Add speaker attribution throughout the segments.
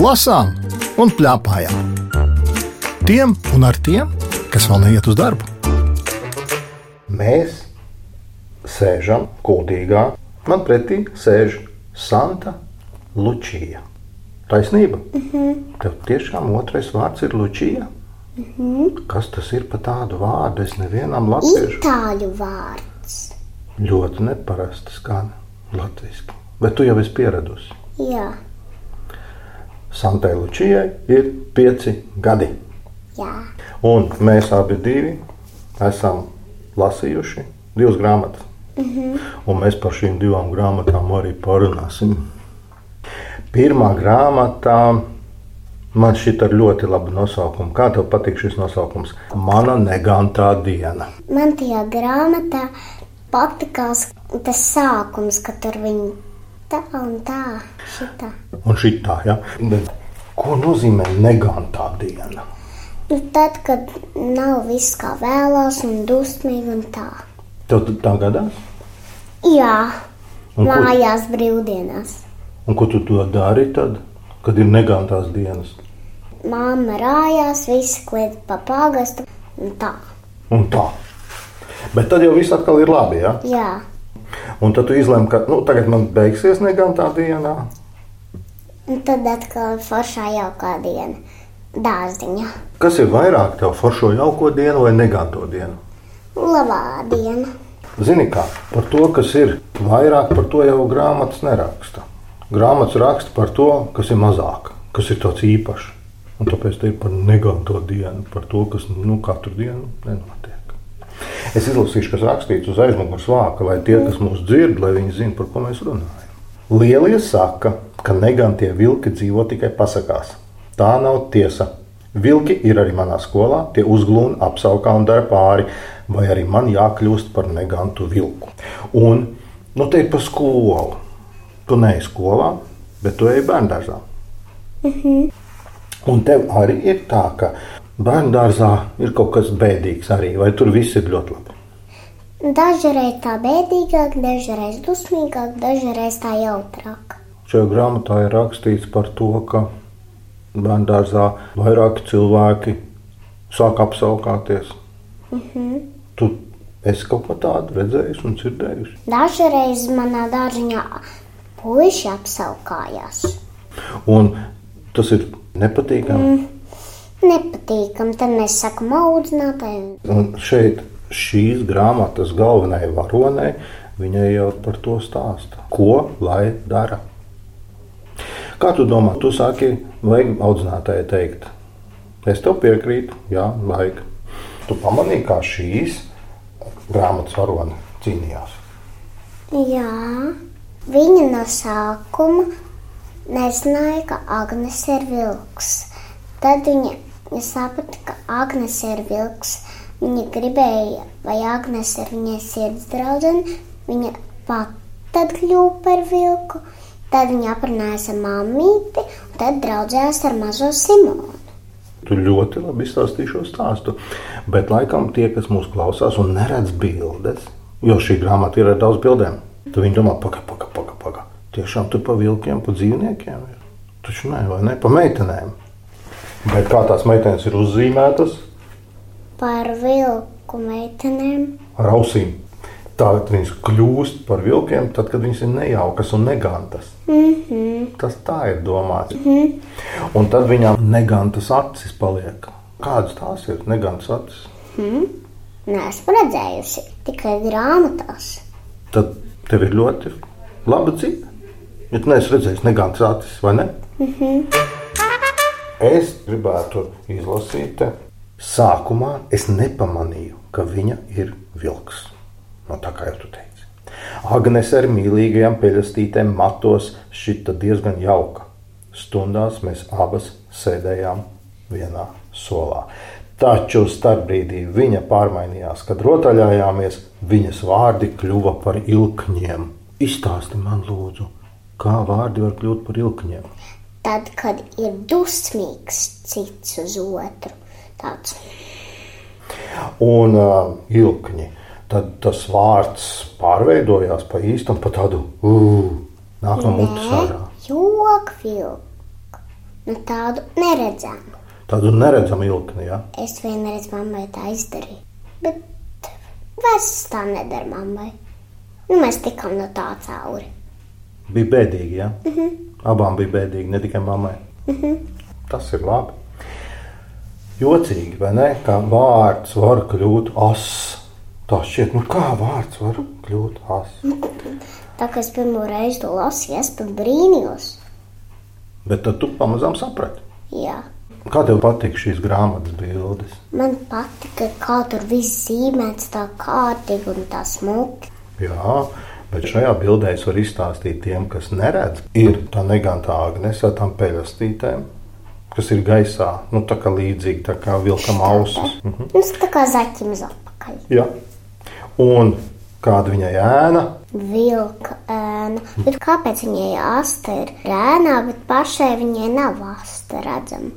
Speaker 1: lasām un plēpājām. Tiem un ar tiem, kas vēl neiet uz darbu.
Speaker 2: Mēs sēžam kūtīgā. Man pretī sēž Santa Lučija. Taisnība. Mm -hmm. Tev tiešām otrais vārds ir Lučija. Mm -hmm. Kas tas ir par tādu vārdu? Es nevienam latviešu
Speaker 3: Itāļu vārds.
Speaker 2: ļoti neparasti skan latviešu. Bet tu jau esi pieradusi.
Speaker 3: Jā,
Speaker 2: Santai Lučijai ir pieci gadi.
Speaker 3: jā.
Speaker 2: Un mēs abi divi esam lasījuši divas grāmatas. Un mēs par šīm divām grāmatām arī parunāsim. Pirmā grāmatā man šī ir ļoti laba nosaukuma. Kā tev patīk šis nosaukums? Mana negantā diena.
Speaker 3: Man tajā grāmatā patīkās tas sākums, ka tur viņi tā un tā, šitā.
Speaker 2: Un šī tā, ja? Bet ko nozīmē negantā diena?
Speaker 3: Nu, tad, kad nav viss kā vēlās un dusmīgi un tā.
Speaker 2: Tev t- tā gadās?
Speaker 3: Jā,
Speaker 2: Un ko,
Speaker 3: mājās brīvdienās.
Speaker 2: un ko tu to dari tad, kad ir negantās dienas?
Speaker 3: Māma rājās, visi kliedz pa pagastu un tā.
Speaker 2: Un tā. Bet tad jau viss atkal ir labi. Ja?
Speaker 3: Jā,
Speaker 2: Un tad tu izlemi, ka nu, tagad man beigsies negantā dienā.
Speaker 3: un tad atkal foršā jaukā diena. Dārziņa.
Speaker 2: Kas ir vairāk tev par šo jauko dienu vai neganto dienu?
Speaker 3: Labā diena.
Speaker 2: Zini, kā par to, kas ir vairāk, par to jau grāmatas neraksta. Grāmatas raksta par to, kas ir mazāk, kas ir tāds īpašs. Un tāpēc te ir par neganto dienu, par to, kas nu, katru dienu nenotiek. Es izlasīšu, kas rakstīts uz aizmugures vāka, lai tie, kas mūs dzird, lai viņi zinātu, par ko mēs runājam. Lielie saka, ka negantie vilki dzīvo tikai pasakās. Tā nav tiesa. Vilki ir arī manā skolā, tie uzglūna, apskaukā un dara pāri, vai arī man jākļūst par negantu vilku. Un, nu, te ir par skolu. Tu neej skolā, bet tu ej bērngārzā. Un tev arī ir tā, ka bērngārzā ir kaut kas bēdīgs arī, vai tur viss ir ļoti labi.
Speaker 3: Dažreiz tā bēdīgāk, dažreiz dusmīgāk, dažreiz tā jautrāk.
Speaker 2: Šajā grāmatā ir rakstīts par to, ka bērnu dārzā vairāki cilvēki sāk apsaukāties. Tu esi kaut ko tādu redzējis un dzirdējis.
Speaker 3: Dažreiz manā dārziņā puiši apsaukājās.
Speaker 2: Un tas ir nepatīkami. Mm.
Speaker 3: Nepatīkam, tad mēs sakām audzinātājiem.
Speaker 2: Un šeit šīs grāmatas galvenajai varonei viņai jau par to stāsta. Ko lai dara? Kā tu domā, tu sāki vajag audzinātāji teikt? Es tev piekrītu, jā, vajag. Tu pamanīji, kā šīs grāmatas varone cīnījās.
Speaker 3: Jā, viņa no sākuma nezināja, ka Agnēs ir vilks. Tad viņa saprata, ka Agnēs ir vilks. Viņa gribēja, lai Agnēs ir viņas sirds draudzene. Viņa pati kļuva par vilku. Tad viņa aprunājās ar mammīti, un tad draudzējās ar mazo Simonu.
Speaker 2: Tu ļoti labi izstāstīji šo stāstu. Bet laikam tie, kas mūsu klausās un neredz bildes, jo šī grāmata ir ar daudz bildēm, tad viņi domā, pagaidi, pagaidi, pagaidi. Paga. Tiešām tur pa vilkiem, pa dzīvniekiem ir. Taču nē, vai ne pa meitenēm. Bet kā tās meitenes ir uzzīmētas
Speaker 3: Par vilku meitenēm
Speaker 2: ar ausīm, tagad viņas kļūst par vilkiem, tad, kad viņas ir nejaukas un negantas. Mm -hmm. Tas tā ir domāts. Mm -hmm. Un tad viņām negantas acis paliek. Kādas tās ir? Negantas acis.
Speaker 3: neesmu redzējusi, tikai grāmatās.
Speaker 2: tad tev ir ļoti laba dzīve. Ja tu neesi redzējis negādas acis, vai ne? Mm -hmm. Es gribētu izlasīt, te. sākumā es nepamanīju, ka viņa ir vilks. No tā kā jau tu teici. Agnēs ar mīlīgajām peļastītēm matos šita diezgan jauka. Stundās mēs abas sēdējām vienā solā. Taču starpbrīdī viņa pārmainījās, kad rotaļājāmies, viņas vārdi kļuva par ilkņiem. Izstāsti man, lūdzu, kā vārdi var kļūt par ilkņiem?
Speaker 3: Tad, kad ir dusmīgs cits uz otru, tāds
Speaker 2: Un uh, ilkņi. Tad tas vārds pārveidojās pa īstam, pa tādu uh, nāk no mutes ārā.
Speaker 3: jokvilks. nu tādu neredzēju.
Speaker 2: Tādu neredzamu ilkni, ja?
Speaker 3: Es vienreiz mammai tā izdarīju, bet vairs es tā nedara mammai. Nu, mēs tikām no tā cauri.
Speaker 2: Bija bēdīgi, ja? Mm -hmm. Abām bija bēdīgi, ne tikai mammai. Mm -hmm. Tas ir labi. Jocīgi, vai ne? Kā vārds var kļūt ass. Tā šķiet, nu kā vārds var kļūt ass.
Speaker 3: Tā kā es pirmo reizi to lasīju, es pat brīnījos.
Speaker 2: Bet tad tu pamazām saprati.
Speaker 3: Jā.
Speaker 2: Kā tev patīk šīs grāmatas bildes?
Speaker 3: Man patika, kā tur viss zīmēts tā kārtīgi un tā smuki.
Speaker 2: Jā, bet šajā bildē es varu izstāstīt tiem, kas neredz. Ir tā negantā Agnēs ar tām peļastītēm, kas ir gaisā, nu tā kā līdzīgi tā kā vilkam ausis. Mhm.
Speaker 3: Mums Nu, tā kā zaķim uz atpakaļ.
Speaker 2: Jā. Un kāda viņa ēna?
Speaker 3: Vilka ēna. Bet kāpēc viņai asta ir ēnā, bet pašai viņai nav asta redzama?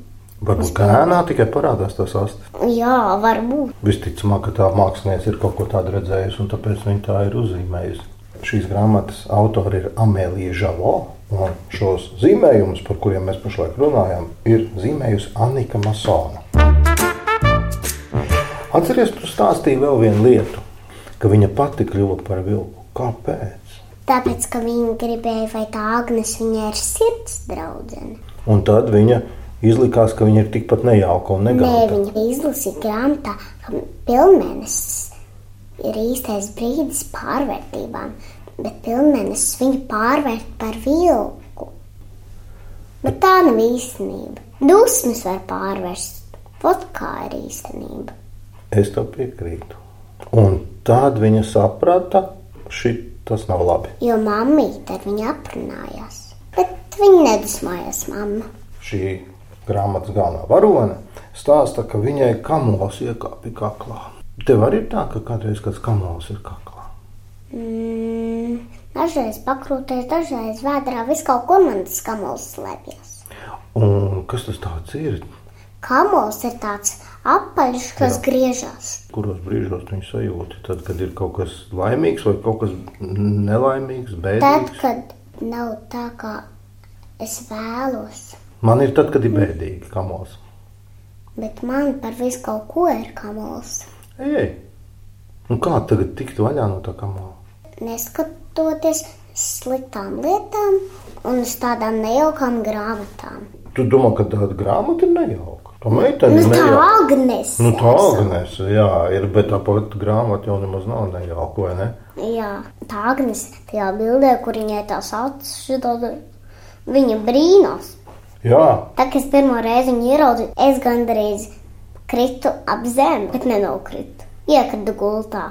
Speaker 2: Varbūt kā ēnā tikai parādās tas astes.
Speaker 3: Jā, varbūt.
Speaker 2: Visticamāk, ka tā mākslinieca ir kaut ko tādu redzējusi, un tāpēc viņa tā ir uzzīmējusi. Šīs grāmatas autori ir Amēlija Žavo, un šos zīmējumus, par kuriem mēs pašlaik runājam, ir zīmējusi Annika Masona. Atcerieties, tu stāstīji vēl vienu lietu, ka viņa pati kļuva par vilku. Kāpēc?
Speaker 3: Tāpēc, ka viņa gribēja, vai tā Agnes viņai ir sirds draudzene.
Speaker 2: Un tad viņa izlikās, ka viņa ir tikpat nejauka un
Speaker 3: Nē,
Speaker 2: neganta.
Speaker 3: viņa izlasīja grāmatā, ka pilnēnesis ir īstais brīdis pārvērtībām, bet pilnēnesis viņu pārvērt par vilku. Bet tā nav īstenība. Dusmas var pārvērst, pat kā ir īstenība.
Speaker 2: Es tev piekrītu. Un tad viņa saprata, šī tas nav labi.
Speaker 3: Jo mammīte ar viņu aprunājās, bet viņa nedusmojās mamma.
Speaker 2: Šī grāmatas galvenā varone stāsta, ka viņai kamols iekāpa kaklā. Tev arī ir tā, ka kādreiz kāds kamols ir kaklā.
Speaker 3: Mm, dažreiz pakrūties, dažreiz vēdā, vis kaut ko man tas kamols slēpjas.
Speaker 2: Un kas tas tāds ir?
Speaker 3: Kamols ir tāds apaļš, kas Jā. griežas.
Speaker 2: Kuros brīžos tu viņu sajūti? Tad, kad ir kaut kas laimīgs vai kaut kas nelaimīgs,
Speaker 3: Tad,
Speaker 2: bēdīgs.
Speaker 3: kad nav tā, kā es vēlos,
Speaker 2: Man ir tad, kad ir bēdīgi kamols.
Speaker 3: bet man par visu kaut ko ir kamols.
Speaker 2: Ej, ej. Un kā tagad tikt vaļā no tā kamola?
Speaker 3: Neskatoties uz sliktām lietām un uz tādām nejaukām grāmatām.
Speaker 2: Tu domā, ka tāda grāmata ir nejauka. Tā meitene
Speaker 3: Nu,
Speaker 2: ir
Speaker 3: tā
Speaker 2: nejauka.
Speaker 3: Agnes.
Speaker 2: Nu, tā Agnēs, jā, ir, bet tā pati grāmata jau nemaz nav nejauka, vai ne?
Speaker 3: Jā, tā Agnes tajā bildē, kur viņai tās acis šitā, viņa brīnās.
Speaker 2: Jā,
Speaker 3: Tad, kad es pirmo reizi viņu ieraudzīju, es gandrīz kritu ap zemi, bet nenokritu. Iekritu gultā.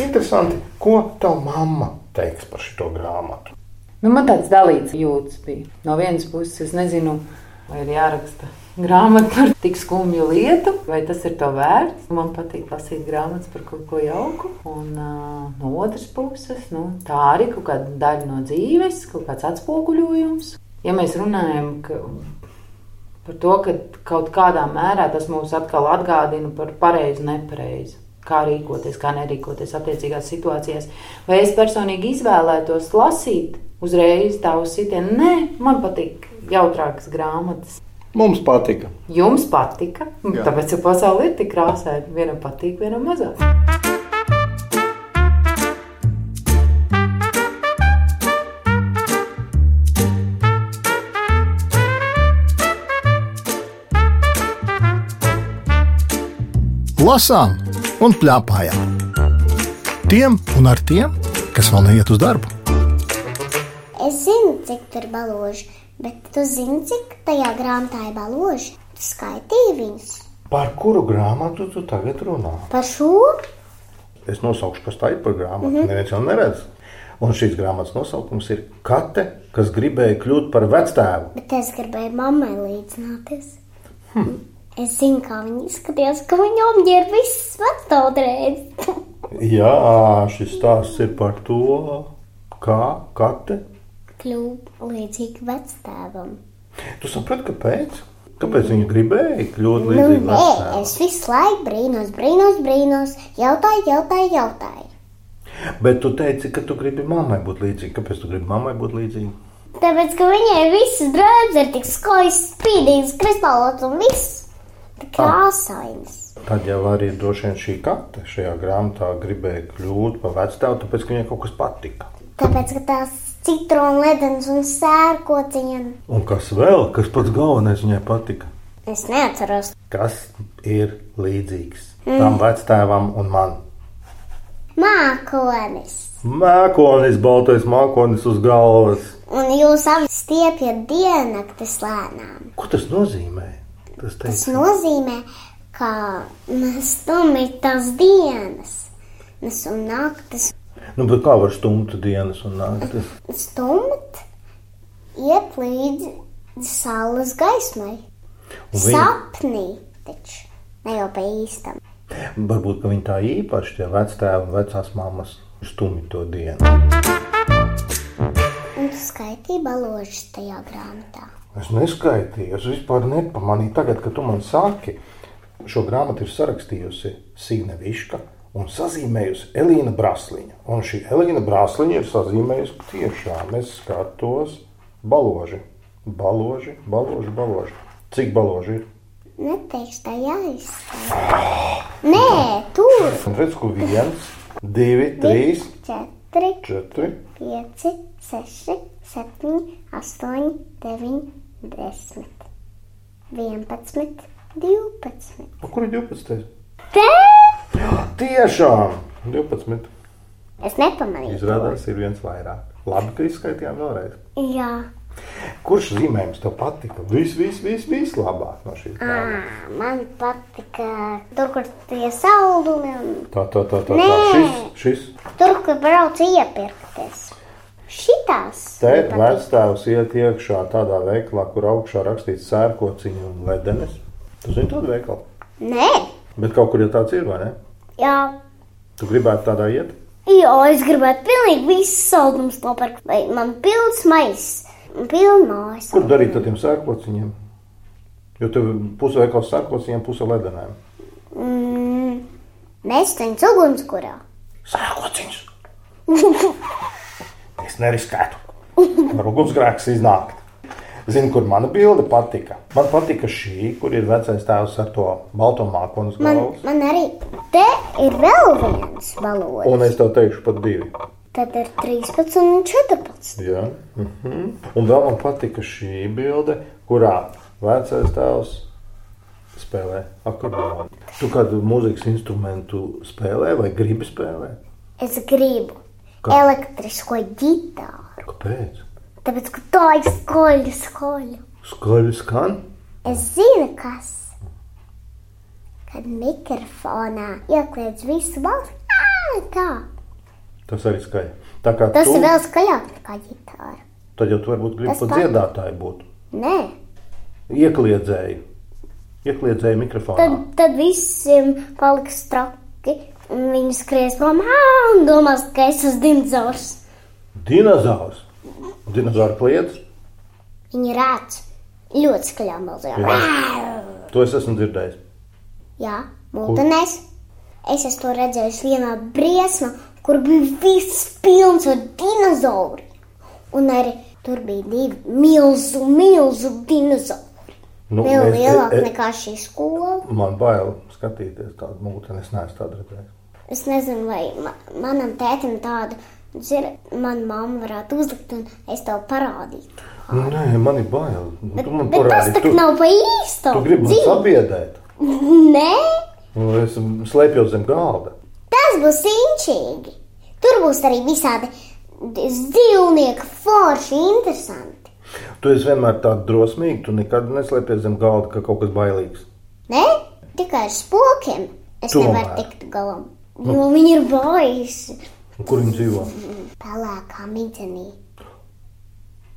Speaker 2: interesanti, ko tava mamma teiks par šo grāmatu.
Speaker 4: Nu, man tāds dalīts jūtas bija. No vienas puses, es nezinu, vai ir jāraksta grāmata par tik skumju lietu, vai tas ir to vērts. Man patīk lasīt grāmatas par kaut ko jauku. Un uh, no otras puses, nu, tā arī kaut kāda daļa no dzīves, kaut kāds atspoguļojums. Ja mēs runājam, ka par to, ka kaut kādā mērā tas mums atkal atgādina par pareizu, nepareizu. Kā rīkoties, kā nerīkoties attiecīgās situācijās. Vai es personīgi izvēlētos lasīt uzreiz tādu sitienu? Nē, man patīk jautrākas grāmatas.
Speaker 2: Mums patika.
Speaker 4: Jums patika, Jā. tāpēc jau pasaule ir tik krāsaina. Vienam patīk, vienam mazāk.
Speaker 1: lasām un plēpājām. Tiem un ar tiem, kas vēl neiet uz darbu.
Speaker 3: Es zinu, cik tur ir balūži, bet tu zini, cik tajā grāmatā ir balūži. Tu skaitīji viņus
Speaker 2: Par kuru grāmatu tu tagad runā?
Speaker 3: par šo.
Speaker 2: Es nosaukšu, kas tā ir par grāmatu.
Speaker 3: Mhm.
Speaker 2: Mm -hmm. Neviens jau neredz. Un šīs grāmatas nosaukums ir Kate, kas gribēja kļūt par vectēvu.
Speaker 3: Bet es gribēju mammai līdzināties. Hmm. Es zinu, kā viņi izskatījās, ka viņam ir viss vecākais.
Speaker 2: Jā, šis stāsts ir par to, kā Kate
Speaker 3: Kļūt līdzīgi vecākam.
Speaker 2: Tu saprati, kāpēc? Kāpēc viņa gribēja kļūt
Speaker 3: Nu,
Speaker 2: līdzīga
Speaker 3: nē,
Speaker 2: vecākam?
Speaker 3: es visu laiku brīnos, brīnos, brīnos. Jautāju, jautāju, jautāju.
Speaker 2: Bet tu teici, ka tu gribi mammai būt līdzīga. Kāpēc tu gribi mammai būt līdzīga?
Speaker 3: Tāpēc, ka viņai visas drēbes ir tik skojas, spīdīgas, kristālotas un viss tik krāsainas.
Speaker 2: Tad jau arī droši vien šī katra šajā grāmatā gribēja kļūt par vecāku, tāpēc ka viņai kaut kas patika.
Speaker 3: Tāpēc, ka tās citronu ledens un sērkociņa.
Speaker 2: Un kas vēl, kas pats galvenais viņai patika?
Speaker 3: Es neatceros.
Speaker 2: Kas ir līdzīgs tam vectēvam un man?
Speaker 3: Mākonis.
Speaker 2: Mākonis, baltais mākonis uz galvas.
Speaker 3: Un jūs abi stiepjat diennaktis lēnām.
Speaker 2: Ko tas nozīmē? Tas,
Speaker 3: Tas
Speaker 2: tas
Speaker 3: nozīmē, ka mēs stumjam tās dienas. Mēs un naktis
Speaker 2: Nu, bet kā var stumt dienas un naktis?
Speaker 3: stumt iet līdz saules gaismai.
Speaker 2: Un viņa-
Speaker 3: Sapnī taču ne jau pa īstam.
Speaker 2: Varbūt, ka viņi tā īpaši tie vectēvi un vecās mammas stumi to dienu.
Speaker 3: Un tu skaitīji baložus tajā grāmatā.
Speaker 2: Es neskaitīju, es vispār nepamanīju. Tagad, kad tu man saki, šo grāmatu ir sarakstījusi Sīna Viška un sazīmējusi Elīna Brasliņa. Un šī Elīna Brasliņa ir sazīmējusi ka tiešām. Es skatos baloži, baloži, baloži, baloži. Cik baloži ir?
Speaker 3: Neteikšu tā jāizsaka. Nē, tur
Speaker 2: Un redz, ko viens, divi, trīs,
Speaker 3: 4,
Speaker 2: četri.
Speaker 3: 5, 6, 7, 8, 9, 10, 11, 12.
Speaker 2: Nu, Kur ir 12?
Speaker 3: Te
Speaker 2: Tiešām 12.
Speaker 3: es nepamanīju.
Speaker 2: Izrādās, ir viens vairāk. Labi, ka izskaitījām vēlreiz.
Speaker 3: Jā,
Speaker 2: Kurš zīmējums tev patika? Viss, viss, vis, vislabāk no šīs grāmatas.
Speaker 3: man patika tur, kur tie saldumi un
Speaker 2: Tā, tā, tā, tā. tā.
Speaker 3: Nē.
Speaker 2: Šis, šis
Speaker 3: tur, kur brauc iepirkties. Šitās.
Speaker 2: te
Speaker 3: man patika.
Speaker 2: vectēvs iet iekšā tādā veikalā, kur augšā rakstīts sērkociņu un ledenes. Tu zini tādu veikalu?
Speaker 3: Nē,
Speaker 2: Bet kaut kur jau tāds ir, vai ne?
Speaker 3: jā.
Speaker 2: Tu gribētu tādā iet?
Speaker 3: Jo es gribētu pilnīgi visus saldumus nopirkt. Vai Man pilns maisis, pilnās.
Speaker 2: Kur darīt ar tiem sērkociņiem? Jo tev puse veikals sērkociņiem, puse ledenēm.
Speaker 3: Mm, mēs tam ugunskurā.
Speaker 2: Sērkociņus! Es neriskētu. Ar ugunsgrēks iznākt. Zinu, kur mana bilde patika. Man patika šī, kur ir vecais tēvs ar to balto mākonu uz
Speaker 3: Man,
Speaker 2: galvas.
Speaker 3: man arī te ir vēl viens balons.
Speaker 2: Un es tev teikšu, pat divi.
Speaker 3: Tad ir 13 un 14.
Speaker 2: Jā. Mhm. Un vēl man patika šī bilde, kurā vecais tēvs spēlē akordeonu. Tu kādu mūzikas instrumentu spēlē vai gribi spēlēt?
Speaker 3: Es gribu
Speaker 2: Kā?
Speaker 3: elektrisko ģitāru,
Speaker 2: Kāpēc?
Speaker 3: tāpēc ka tā ir skoļa skoļa.
Speaker 2: Skaļi skan.
Speaker 3: Es zinu, kas. Kad mikrofonā iekliedz visu balsi, Ā, tā.
Speaker 2: Tas arī skaļi. Tā kā
Speaker 3: Tas
Speaker 2: tu,
Speaker 3: ir vēl skaļāk nekā ģitāra.
Speaker 2: tad jau tu varbūt gribi
Speaker 3: Tas
Speaker 2: pat
Speaker 3: pa-
Speaker 2: dziedātāju būt.
Speaker 3: Nē,
Speaker 2: iekliedzēju, iekliedzēju mikrofonā.
Speaker 3: tad, tad visiem paliks traki. un Viņi skries prom "Ā," un domās, ka es esmu dinozaurs.
Speaker 2: Dinozaurs, dinozauru kliedz,
Speaker 3: Viņi rāc ļoti skaļām balsīm.
Speaker 2: to es esmu dzirdējis.
Speaker 3: Jā, mūtenēs. Es esmu to redzējis vienā briesmā, kur bija viss pilns ar dinozauriem. Un arī tur bija divi milzu, milzu dinozauri.
Speaker 2: Nu,
Speaker 3: Vēl
Speaker 2: mēs-
Speaker 3: lielāk
Speaker 2: e- e-
Speaker 3: nekā šī skola.
Speaker 2: Man bail skatīties tādu mūziku, es neesmu tādu redzējis.
Speaker 3: Es nezinu, vai ma manam tētim tādu zinu, manā mamma varētu uzlikt, un es tev parādītu.
Speaker 2: Nu, nē, man ir bail. Nu,
Speaker 3: Bet,
Speaker 2: tu man
Speaker 3: bet tas tā
Speaker 2: parādi,
Speaker 3: kā
Speaker 2: tu,
Speaker 3: nav pa īstu.
Speaker 2: tu gribi man
Speaker 3: dzīvi.
Speaker 2: sabiedēt.
Speaker 3: Nē,
Speaker 2: Nu, es slēpjos zem galda.
Speaker 3: Tas būs inčīgi. Tur būs arī visādi dzīvnieki, forši, interesanti.
Speaker 2: Tu esi vienmēr tāds drosmīgs, tu nekad neslēpies zem galda, ka kaut kas bailīgs.
Speaker 3: Ne? Tikai ar spokiem es
Speaker 2: Tomēr.
Speaker 3: nevaru tikt galam. Jo viņi ir bojuši
Speaker 2: Un Kur viņi dzīvo?
Speaker 3: pelēkā midzenī.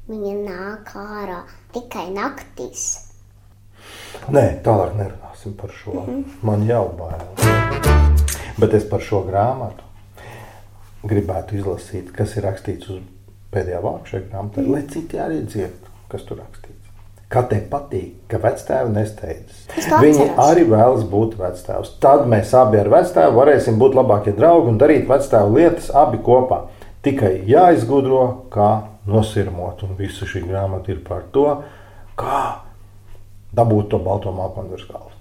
Speaker 3: Viņa nāk ārā tikai naktīs.
Speaker 2: Nē, tālāk nerunāsim par šo.
Speaker 3: Mhm.
Speaker 2: Man jau bail. Bet es par šo grāmatu gribētu izlasīt, kas ir rakstīts uz pēdējā vārda šajā grāmatā, lai citi arī dzirdētu, kas tur rakstīts. Kā te patīk, ka vectēvi nesteidzas.
Speaker 3: Es to
Speaker 2: Viņi
Speaker 3: atceros.
Speaker 2: arī vēlas būt vectēvs. Tad mēs abi ar vectēvu varēsim būt labākie draugi un darīt vectēvu lietas abi kopā. Tikai jāizgudro, kā nosirmot. Un visa šī grāmata ir par to, kā dabūt to balto mākoņu virs galvas.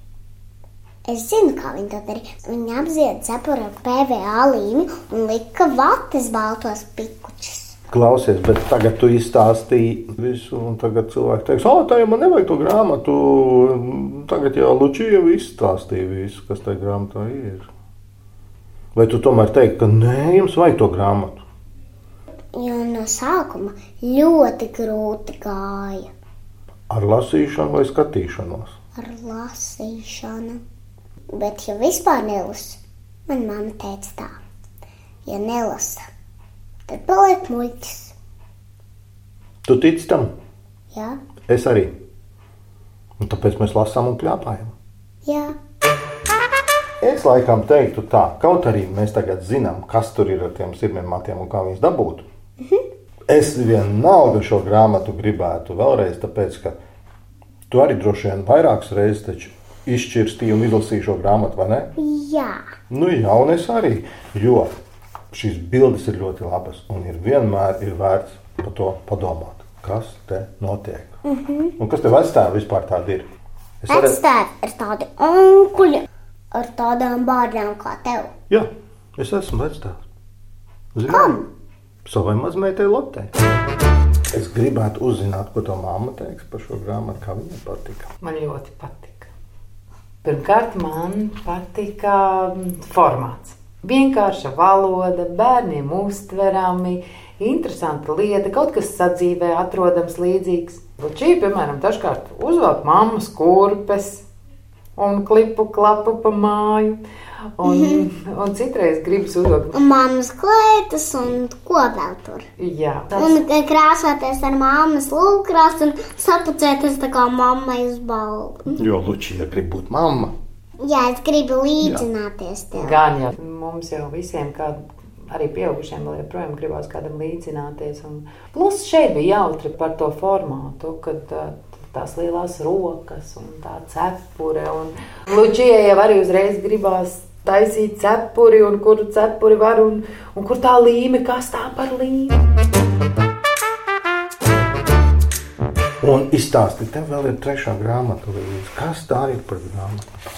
Speaker 3: Es zinu, kā viņi to darīja. Viņi apzied cepuri ar PVA līmi un lika vatas baltos pikučus.
Speaker 2: Klausies, bet tagad tu izstāstīji visu, un tagad cilvēki teiks, ah, tā jau man nevajag to grāmatu. Tagad jau Lučija jau izstāstīja visu, kas tajā grāmatā ir. Vai tu tomēr teiksi, ka nē, jums vajag to grāmatu?
Speaker 3: Jo no sākuma ļoti grūti gāja
Speaker 2: Ar lasīšanu vai skatīšanos?
Speaker 3: ar lasīšanu. Bet, ja vispār nelasu, man mamma teica tā, ja nelasa, tad paliek muļķis.
Speaker 2: Tu tici tam?
Speaker 3: Jā,
Speaker 2: Es arī. Un tāpēc mēs lasām un plēpājam.
Speaker 3: jā,
Speaker 2: Es laikam teiktu tā, kaut arī mēs tagad zinām, kas tur ir ar tiem sirmiem matiem un kā viņus dabūt. Es vienalga šo grāmatu gribētu vēlreiz, tāpēc ka tu arī droši vien vairākas reizes taču izšķirstīji un izlasīji šo grāmatu, vai ne?
Speaker 3: jā.
Speaker 2: Nu, jaunas arī, jo šīs bildes ir ļoti labas un ir vienmēr ir vērts par to padomāt. Kas te notiek? Mm -hmm. Un kas tev atstāja vispār tādu ir? Es
Speaker 3: Vectēvi ir tādi onkuļi ar tādām bārnām kā tev.
Speaker 2: Jā, es esmu vecāks. Zinām,
Speaker 3: Kam?
Speaker 2: savai mazmeitai Lotei. Es gribētu uzzināt, ko tā mamma teiks par šo grāmatu, kā viņai patika.
Speaker 4: Man ļoti patika. Pirmkārt, man patika mm, formāts. Vienkārša valoda, bērniem uztverami, interesanta lieta, kaut kas sadzīvē atrodams līdzīgs. Lučija, piemēram, dažkārt uzvelk mammas kurpes un klipu klapu pa māju. Un, un citreiz gribas uzvilkt.
Speaker 3: Un mammas klētas un ko vēl tur.
Speaker 4: Jā, tas,
Speaker 3: Un krāsoties ar mammas lūkrās un sapucēties tā kā mammai uz balvu.
Speaker 2: Jo Lučija grib būt mamma.
Speaker 3: Jā, es gribu līdzināties tev.
Speaker 4: Gan jau mums jau visiem, kā arī pieaugušiem, vēl joprojām gribās kādam līdzināties. Un... Plus šeit bija jautri par to formātu, kad ā, tās lielās rokas un tā cepure. Un... Lučijai jau arī uzreiz gribās taisīt cepuri un kuru cepuri var un, un kur tā līme, kas tā par līmi.
Speaker 2: Un izstāsti, tev vēl ir trešā grāmata līdzi. Kas tā ir par grāmatu?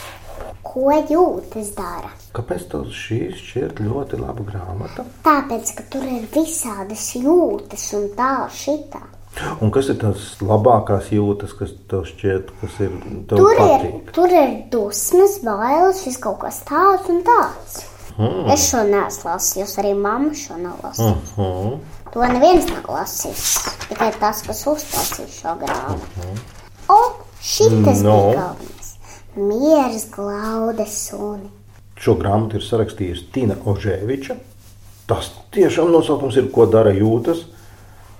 Speaker 3: Ko jūtas dara?
Speaker 2: Kāpēc tev šī šķiet ļoti laba grāmata?
Speaker 3: Tāpēc, ka tur ir visādas jūtas un tā šitā.
Speaker 2: Un kas ir tās labākās jūtas, kas tev šķiet, kas ir tev
Speaker 3: Tur ir,
Speaker 2: patīk?
Speaker 3: tur ir dusmas, bailes, viss kaut kas tāds un tāds. Mm. Es šo nesu lasījis, jūs arī mamma šo nav lasījusi.
Speaker 2: Uh -huh.
Speaker 3: To neviens nav lasījis. Tikai tas, kas uztaisīja šo grāmatu. O, šitas no.
Speaker 2: No.
Speaker 3: bija galvenais. Mieras glauda suni.
Speaker 2: Šo grāmatu ir sarakstījusi Tina Ožēviča. Tas tiešām nosaukums ir, ko dara jūtas.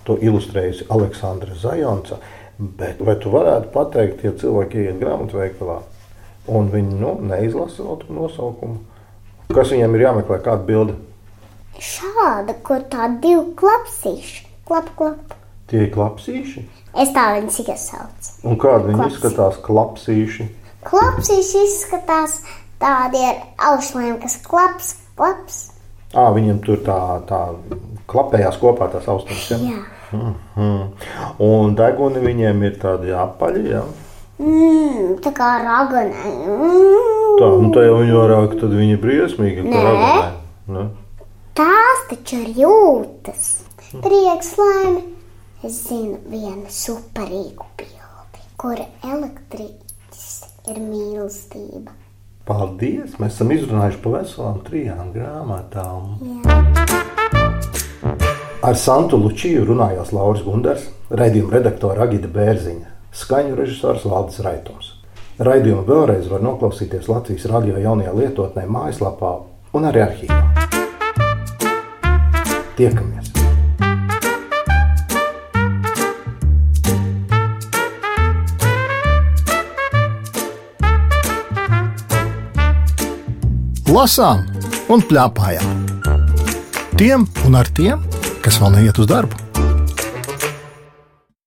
Speaker 2: To ilustrējusi Aleksandra Zajonca. Bet vai tu varētu pateikt, ja cilvēki ienāk grāmatveikalā un viņi nu, neizlasa vēl to nosaukumu? Kas viņiem ir jāmeklē, kāda bilde?
Speaker 3: Šāda, ko tā divi klapsīši. Klap, klap.
Speaker 2: Tie ir klapsīši.
Speaker 3: Es tā viņas tikai saucu.
Speaker 2: Un kādi viņi
Speaker 3: Klapsī.
Speaker 2: izskatās klapsīši?
Speaker 3: Klapsīs izskatās tādi ar aušlēm, kas klaps, klaps.
Speaker 2: À, viņiem tur tā, tā klapējās kopā tās austiņas. Ja?
Speaker 3: Jā.
Speaker 2: Mhm. Un deguni viņiem ir tādi apaļi. Ja?
Speaker 3: Mm, tā kā raganai. Mm.
Speaker 2: Tā, nu tā jau viņa varāk, tad viņa ir briesmīga.
Speaker 3: Nē.
Speaker 2: Nē.
Speaker 3: Tās taču ir jūtas. Prieks, laime. Es zinu vienu superīgu bildi, kur elektriķis ir mīlestība.
Speaker 2: Paldies! Mēs esam izrunājuši par veselām trijām grāmatām. Ar Santu Lučiju runājās Lauris Gunders, raidījuma redaktora Agita Bērziņa, skaņu režisors Valdis Raitons. Raidījumu vēlreiz var noklausīties Latvijas radio jaunajā lietotnē, mājaslapā un arī arhīvā. Tiekamies!
Speaker 1: Lasām un plēpājām. Tiem un ar tiem, kas vēl neiet uz darbu.